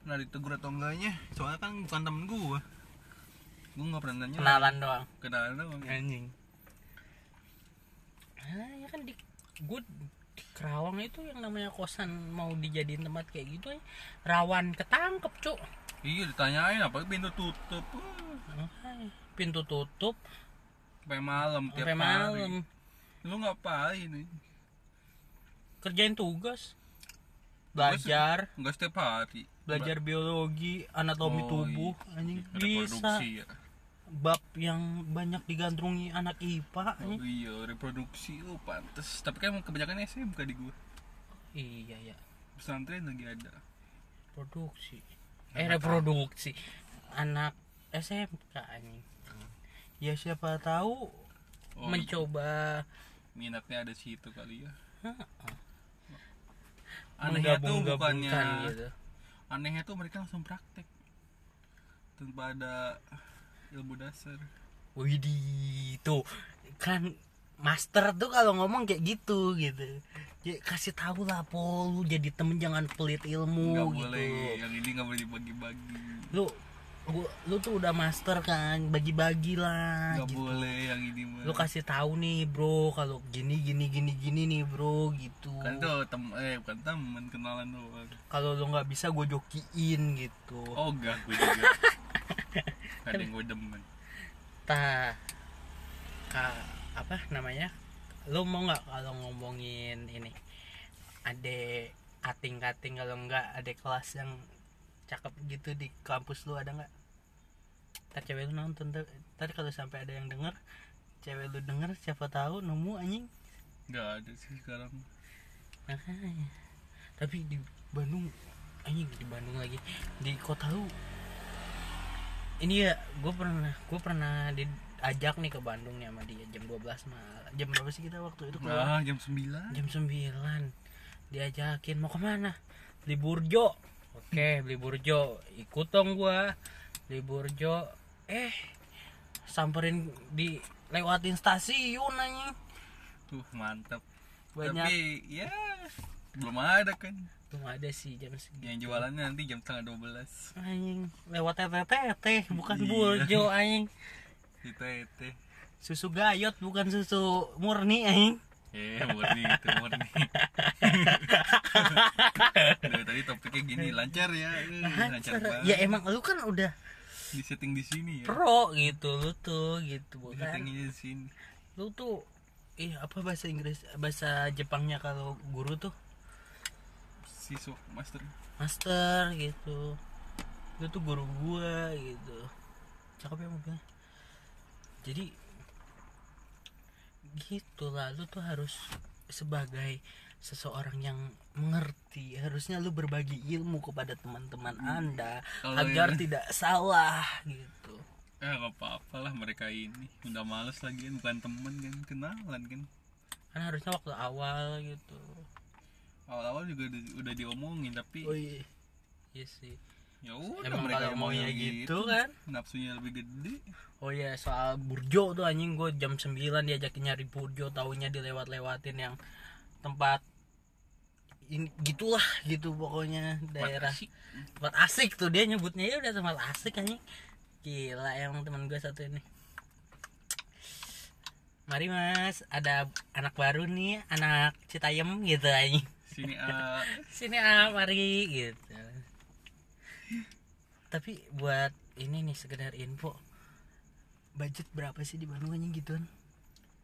Speaker 2: pernah ditegur atau enggaknya soalnya kan bukan temen gua gua nggak pernah nanya
Speaker 1: kenalan doang
Speaker 2: kenalan doang
Speaker 1: anjing Iya. ah ya kan di gue di Kerawang itu yang namanya kosan mau dijadiin tempat kayak gitu ya, rawan ketangkep cuk
Speaker 2: iya ditanyain apa pintu tutup Uh,
Speaker 1: Makanya, pintu tutup
Speaker 2: sampai malam
Speaker 1: sampai
Speaker 2: tiap hari.
Speaker 1: malam
Speaker 2: lu ngapain
Speaker 1: kerjain tugas belajar
Speaker 2: nggak setiap hari
Speaker 1: belajar biologi anatomi
Speaker 2: Oh,
Speaker 1: tubuh anjing bisa
Speaker 2: reproduksi ya
Speaker 1: bab yang banyak digandrungi anak IPA
Speaker 2: Oh,
Speaker 1: anjing.
Speaker 2: iya reproduksi lu pantes tapi kan kebanyakan SMK di gua
Speaker 1: iya ya
Speaker 2: pesantren lagi ada
Speaker 1: produksi eh reproduksi anak SMK anjing ya siapa tahu
Speaker 2: Hmm. Oh, gitu.
Speaker 1: mencoba
Speaker 2: minatnya ada situ kali ya
Speaker 1: Heeh.
Speaker 2: anehnya tuh bukannya
Speaker 1: menggabung-gabungkan gitu
Speaker 2: anehnya tuh mereka langsung praktek tanpa ada ilmu dasar
Speaker 1: Widih, tuh kan master tuh kalau ngomong kayak gitu gitu. Ya, kasih tahu lah Pol, lu jadi temen jangan pelit ilmu
Speaker 2: nggak
Speaker 1: gitu.
Speaker 2: boleh yang ini nggak boleh dibagi-bagi
Speaker 1: Lu gua, lu tuh udah master kan, bagi-bagi lah
Speaker 2: nggak
Speaker 1: gitu.
Speaker 2: boleh yang ini mah
Speaker 1: Lu kan- kasih tahu nih, Bro, kalau gini gini gini gini nih, Bro, gitu.
Speaker 2: kan tuh tem eh bukan temen kenalan doang
Speaker 1: Kalau lu nggak bisa gue jokiin gitu.
Speaker 2: oh enggak gue juga ada yang gue demen
Speaker 1: ta ka- apa namanya lu mau nggak kalau ngomongin ini ada kating kating kalau nggak ada kelas yang cakep gitu di kampus lu ada nggak ntar cewek lu nonton ntar ntar kalau sampai ada yang denger cewek lu denger siapa tahu nemu anjing
Speaker 2: nggak ada sih sekarang
Speaker 1: Makanya. tapi di Bandung anjing di Bandung lagi di kota lu ini ya gue pernah gue pernah diajak nih ke Bandung nih sama dia jam 12 malam jam berapa sih kita waktu itu keluar?
Speaker 2: ah jam 9
Speaker 1: jam 9 diajakin mau kemana beli burjo oke beli burjo ikut dong gue beli burjo eh samperin di lewatin stasiun anjing
Speaker 2: tuh mantap
Speaker 1: Banyak.
Speaker 2: tapi ya belum ada kan
Speaker 1: belum ada sih jam segitu
Speaker 2: yang jualannya nanti jam setengah 12
Speaker 1: anjing lewat TTT bukan
Speaker 2: Iya.
Speaker 1: burjo anjing
Speaker 2: kita itu
Speaker 1: susu gayot bukan susu murni anjing
Speaker 2: Eh, murni itu murni. Dari tadi topiknya gini lancar ya. Eh, Lancar banget.
Speaker 1: ya emang lu kan udah
Speaker 2: Di setting di sini ya.
Speaker 1: pro gitu lu tuh gitu bukan
Speaker 2: Di settingnya di sini.
Speaker 1: lu tuh eh apa bahasa Inggris bahasa Jepangnya kalau guru tuh
Speaker 2: Siswa master.
Speaker 1: master gitu lu tuh guru gua gitu cakep ya mobilnya jadi gitu lah lu tuh harus sebagai seseorang yang mengerti harusnya lu berbagi ilmu kepada teman-teman anda
Speaker 2: Hmm. Kalau
Speaker 1: agar
Speaker 2: ini-
Speaker 1: tidak salah gitu
Speaker 2: Eh, gak apa-apa lah mereka ini. Udah males lagi kan, bukan temen kan, kenalan kan.
Speaker 1: kan harusnya waktu awal gitu
Speaker 2: Awal-awal juga di- udah diomongin tapi
Speaker 1: oh iya Iya sih
Speaker 2: ya udah
Speaker 1: emang
Speaker 2: mereka
Speaker 1: kalau maunya gitu, kan
Speaker 2: Nafsunya lebih gede.
Speaker 1: oh iya soal burjo tuh anjing gue jam 9 diajakin nyari burjo taunya dilewat-lewatin yang tempat ini gitulah gitu pokoknya daerah
Speaker 2: asik.
Speaker 1: tempat asik tuh dia nyebutnya ya udah tempat asik anjing gila emang teman gue satu ini mari mas ada anak baru nih anak citayam gitu anjing
Speaker 2: Sini ah,
Speaker 1: sini ah mari gitu tapi buat ini nih sekedar info budget berapa sih di Bandung anjing gituan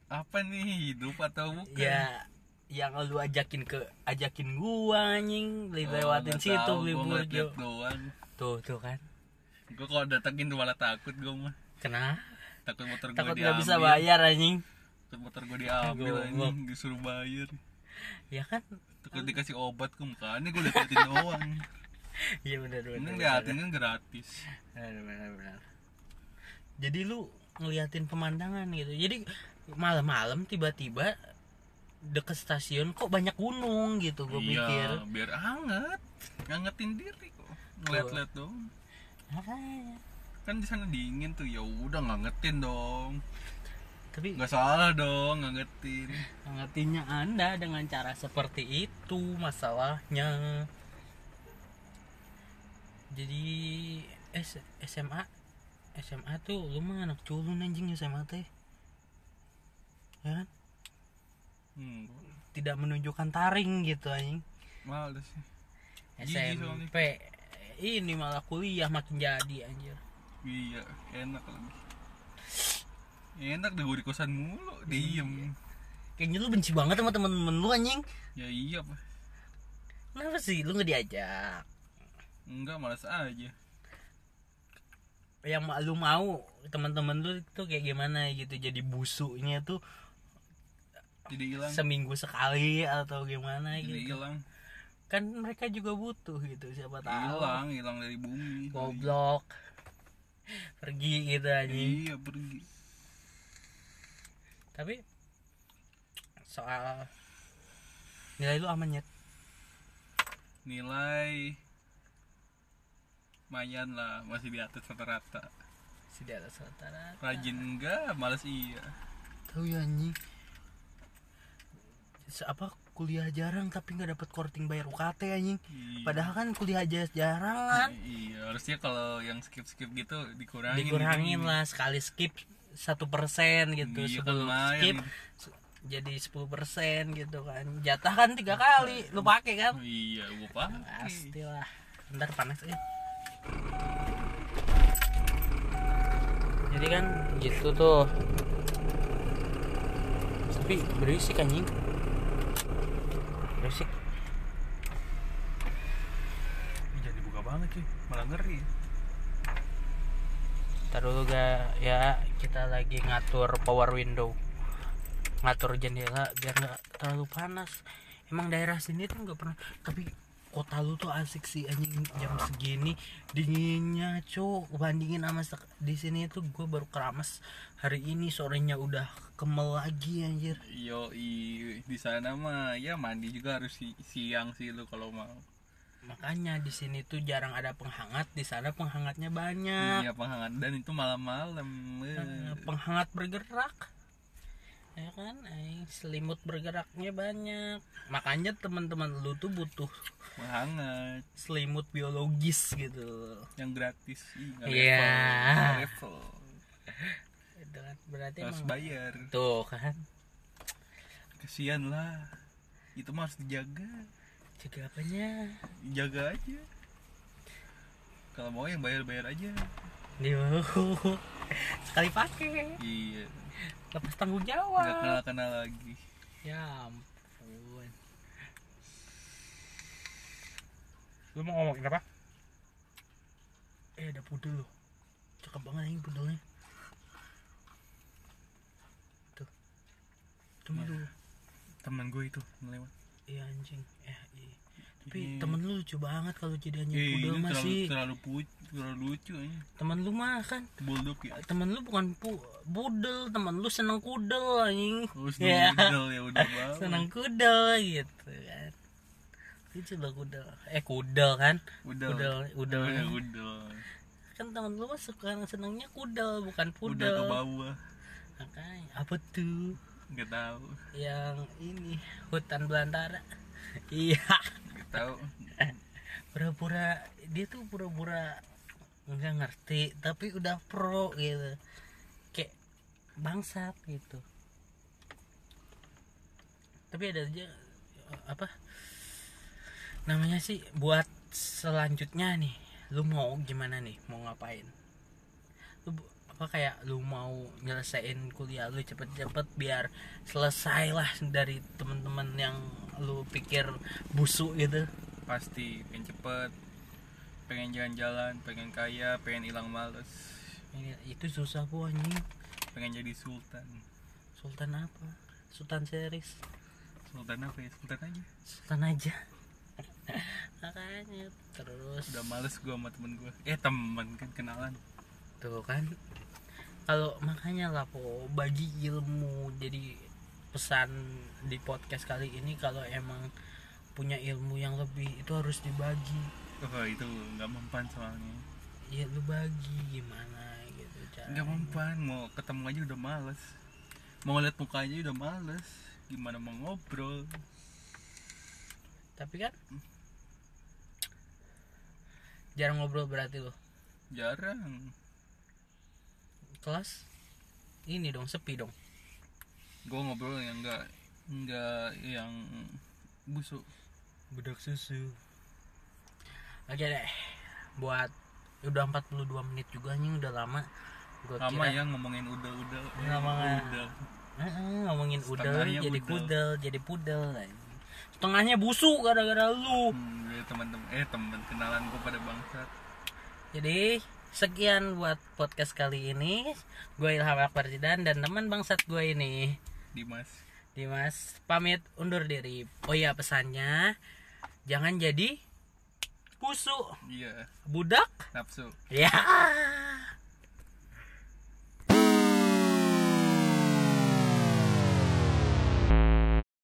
Speaker 2: apa nih hidup atau bukan?
Speaker 1: ya yang lu ajakin ke ajakin gua anjing li- lewatin
Speaker 2: Oh, nggak
Speaker 1: situ
Speaker 2: tahu,
Speaker 1: beli
Speaker 2: gua
Speaker 1: burjo
Speaker 2: ngeliat-liat doang
Speaker 1: tuh tuh kan
Speaker 2: gue kalau datengin tuh malah takut gue mah
Speaker 1: kena
Speaker 2: takut motor gue
Speaker 1: takut
Speaker 2: diambil
Speaker 1: nggak bisa bayar anjing
Speaker 2: takut motor gue diambil
Speaker 1: Goblok.
Speaker 2: anjing disuruh bayar
Speaker 1: ya kan
Speaker 2: takut dikasih obat ke mukanya gue liatin doang
Speaker 1: iya benar
Speaker 2: ini
Speaker 1: benar
Speaker 2: liatin kan gratis
Speaker 1: benar benar benar. jadi lu ngeliatin pemandangan gitu jadi malam-malam tiba-tiba deket stasiun kok banyak gunung gitu gue pikir
Speaker 2: iya biar hangat ngangetin diri kok ngeliat-liat dong
Speaker 1: Makanya.
Speaker 2: kan di sana dingin tuh ya udah ngangetin dong
Speaker 1: tapi
Speaker 2: nggak salah dong ngangetin
Speaker 1: ngertinya anda dengan cara seperti itu masalahnya jadi S- SMA SMA tuh lu mah anak culun anjing SMA teh ya kan?
Speaker 2: hmm,
Speaker 1: tidak menunjukkan taring gitu anjing
Speaker 2: males sih Jijik soalnya.
Speaker 1: SMP ini malah kuliah makin jadi anjir
Speaker 2: Iya, enak lagi. Enak deh gue di kosan mulu, diem.
Speaker 1: kayaknya lu benci banget sama temen-temen lu anjing
Speaker 2: Ya iya, Pak.
Speaker 1: kenapa sih lu nggak diajak
Speaker 2: Enggak, malas aja.
Speaker 1: yang ma- lu mau teman-teman lu tuh kayak gimana gitu jadi busuknya tuh
Speaker 2: Jadi hilang,
Speaker 1: seminggu sekali atau gimana
Speaker 2: jadi
Speaker 1: gitu
Speaker 2: hilang,
Speaker 1: kan mereka juga butuh gitu
Speaker 2: Iya,
Speaker 1: siapa tahu
Speaker 2: hilang, hilang dari bumi.
Speaker 1: goblok pergi gitu anjing
Speaker 2: Iya, pergi.
Speaker 1: tapi soal nilai lu aman ya
Speaker 2: Nilai lumayan lah, masih di atas rata-rata.
Speaker 1: si di atas rata-rata.
Speaker 2: Rajin enggak, malas iya.
Speaker 1: tahu ya anjing Se- apa kuliah jarang tapi nggak dapat korting bayar UKT anjing
Speaker 2: Iya.
Speaker 1: padahal kan kuliah aja jarang kan
Speaker 2: Iya, harusnya kalau yang skip-skip gitu dikurangin.
Speaker 1: dikurangin lah sekali skip satu persen gitu
Speaker 2: Iya,
Speaker 1: sebelum
Speaker 2: lumayan.
Speaker 1: skip se- jadi 10% gitu kan jatah kan tiga kali lu pakai kan
Speaker 2: Iya, gue paham.
Speaker 1: pastilah ntar panas eh jadi kan gitu tuh tapi berisik anjing berisik
Speaker 2: Jangan dibuka banget sih, malah ngeri.
Speaker 1: Taruh dulu ga ya kita lagi ngatur power window ngatur jendela biar nggak terlalu panas emang daerah sini tuh nggak pernah tapi kota lu tuh asik sih anjing jam segini dinginnya cuk bandingin sama sek- di sini tuh gue baru keramas hari ini sorenya udah kemel lagi anjir
Speaker 2: Yo di sana mah ya mandi juga harus si- siang sih lu kalau mau.
Speaker 1: makanya di sini tuh jarang ada penghangat di sana penghangatnya banyak
Speaker 2: Iya penghangat dan itu malam-malam.
Speaker 1: Nah,
Speaker 2: Eh,
Speaker 1: penghangat bergerak ya kan eh, selimut bergeraknya banyak makanya teman-teman lu tuh butuh
Speaker 2: Penghangat
Speaker 1: selimut biologis gitu
Speaker 2: yang gratis. Ih, nggak
Speaker 1: Iya.
Speaker 2: level, nggak level.
Speaker 1: Itu kan, berarti
Speaker 2: Harus
Speaker 1: emang
Speaker 2: bayar.
Speaker 1: tuh kan
Speaker 2: kesian lah itu mah harus dijaga
Speaker 1: Jaga apanya?
Speaker 2: jaga aja kalau mau yang bayar-bayar aja
Speaker 1: Dia mau. Sekali pakai.
Speaker 2: iya
Speaker 1: Lepas tanggung
Speaker 2: nggak
Speaker 1: jawab.
Speaker 2: kenal-kenal lagi
Speaker 1: Ya ampun. Lu mau ngomongin apa? Eh ada pudel loh. Cakep banget ini pudelnya. Tuh. Cuma
Speaker 2: Ya.
Speaker 1: tuh.
Speaker 2: teman gue itu melewat
Speaker 1: Iya anjing. Eh iya. Tapi
Speaker 2: Iya.
Speaker 1: temen lu lucu banget kalau jadi anjing
Speaker 2: Ih,
Speaker 1: pudel
Speaker 2: itu terlalu,
Speaker 1: masih.
Speaker 2: terlalu, pu- terlalu lucu aja
Speaker 1: Temen lu mah kan
Speaker 2: Bulldog ya
Speaker 1: temen lu bukan pu budel temen lu seneng kudel anjing
Speaker 2: Terus
Speaker 1: Ya,
Speaker 2: Bulldog ya udah banget
Speaker 1: seneng kudel gitu kan lucu lo kudel eh kudel kan
Speaker 2: Udel
Speaker 1: Udel, udel.
Speaker 2: Namanya Udel
Speaker 1: kan temen lu mah suka senengnya kudel bukan
Speaker 2: Udel ke
Speaker 1: pudel
Speaker 2: bawah
Speaker 1: makanya apa tuh
Speaker 2: Gak tau
Speaker 1: yang ini hutan belantara iya
Speaker 2: Gak tau
Speaker 1: pura-pura dia tuh pura-pura nggak ngerti tapi udah pro gitu kayak bangsat gitu tapi ada aja eh, apa namanya sih buat selanjutnya nih lu mau gimana nih mau ngapain lu bu- apa kayak lu mau nyelesain kuliah lu cepet-cepet biar selesai lah dari temen-temen yang lu pikir busuk gitu
Speaker 2: Pasti pengen cepet Pengen jalan-jalan Pengen kaya Pengen hilang males
Speaker 1: Ini Iya, itu susah bu anjing.
Speaker 2: Pengen jadi sultan
Speaker 1: Sultan apa? Sultan series.
Speaker 2: Sultan apa ya? Sultan aja
Speaker 1: Sultan aja. Makanya terus
Speaker 2: Udah males gue sama temen gue Eh temen kan kenalan
Speaker 1: tuh kan. Kalau makanya lah po bagi ilmu jadi pesan di podcast kali ini kalau emang punya ilmu yang lebih itu harus dibagi.
Speaker 2: Oh itu gak mempan soalnya
Speaker 1: Ya lu bagi gimana gitu cara.
Speaker 2: Gak mempan Mau ketemu aja udah males Mau lihat mukanya udah males Gimana mau ngobrol
Speaker 1: Tapi kan jarang ngobrol berarti lo.
Speaker 2: Jarang
Speaker 1: Kelas ini dong sepi dong.
Speaker 2: gue ngobrol yang enggak enggak yang busuk
Speaker 1: bedak susu oke deh buat udah 42 menit juga nih udah lama gue
Speaker 2: lama
Speaker 1: kira
Speaker 2: ya ngomongin udel-udel Eh,
Speaker 1: Lama nggak?
Speaker 2: udel
Speaker 1: Heeh, ngomongin udel
Speaker 2: Setengahnya
Speaker 1: jadi
Speaker 2: budel.
Speaker 1: kudel jadi pudel setengahnya busuk gara-gara lu
Speaker 2: hmm, ya, teman-teman eh teman kenalan gue pada bangsat
Speaker 1: jadi sekian buat podcast kali ini gue Ilham Akbar Zidan dan teman bangsat gue ini
Speaker 2: Dimas
Speaker 1: Dimas pamit undur diri oh iya pesannya jangan jadi busuk
Speaker 2: iya
Speaker 1: budak
Speaker 2: nafsu
Speaker 1: ya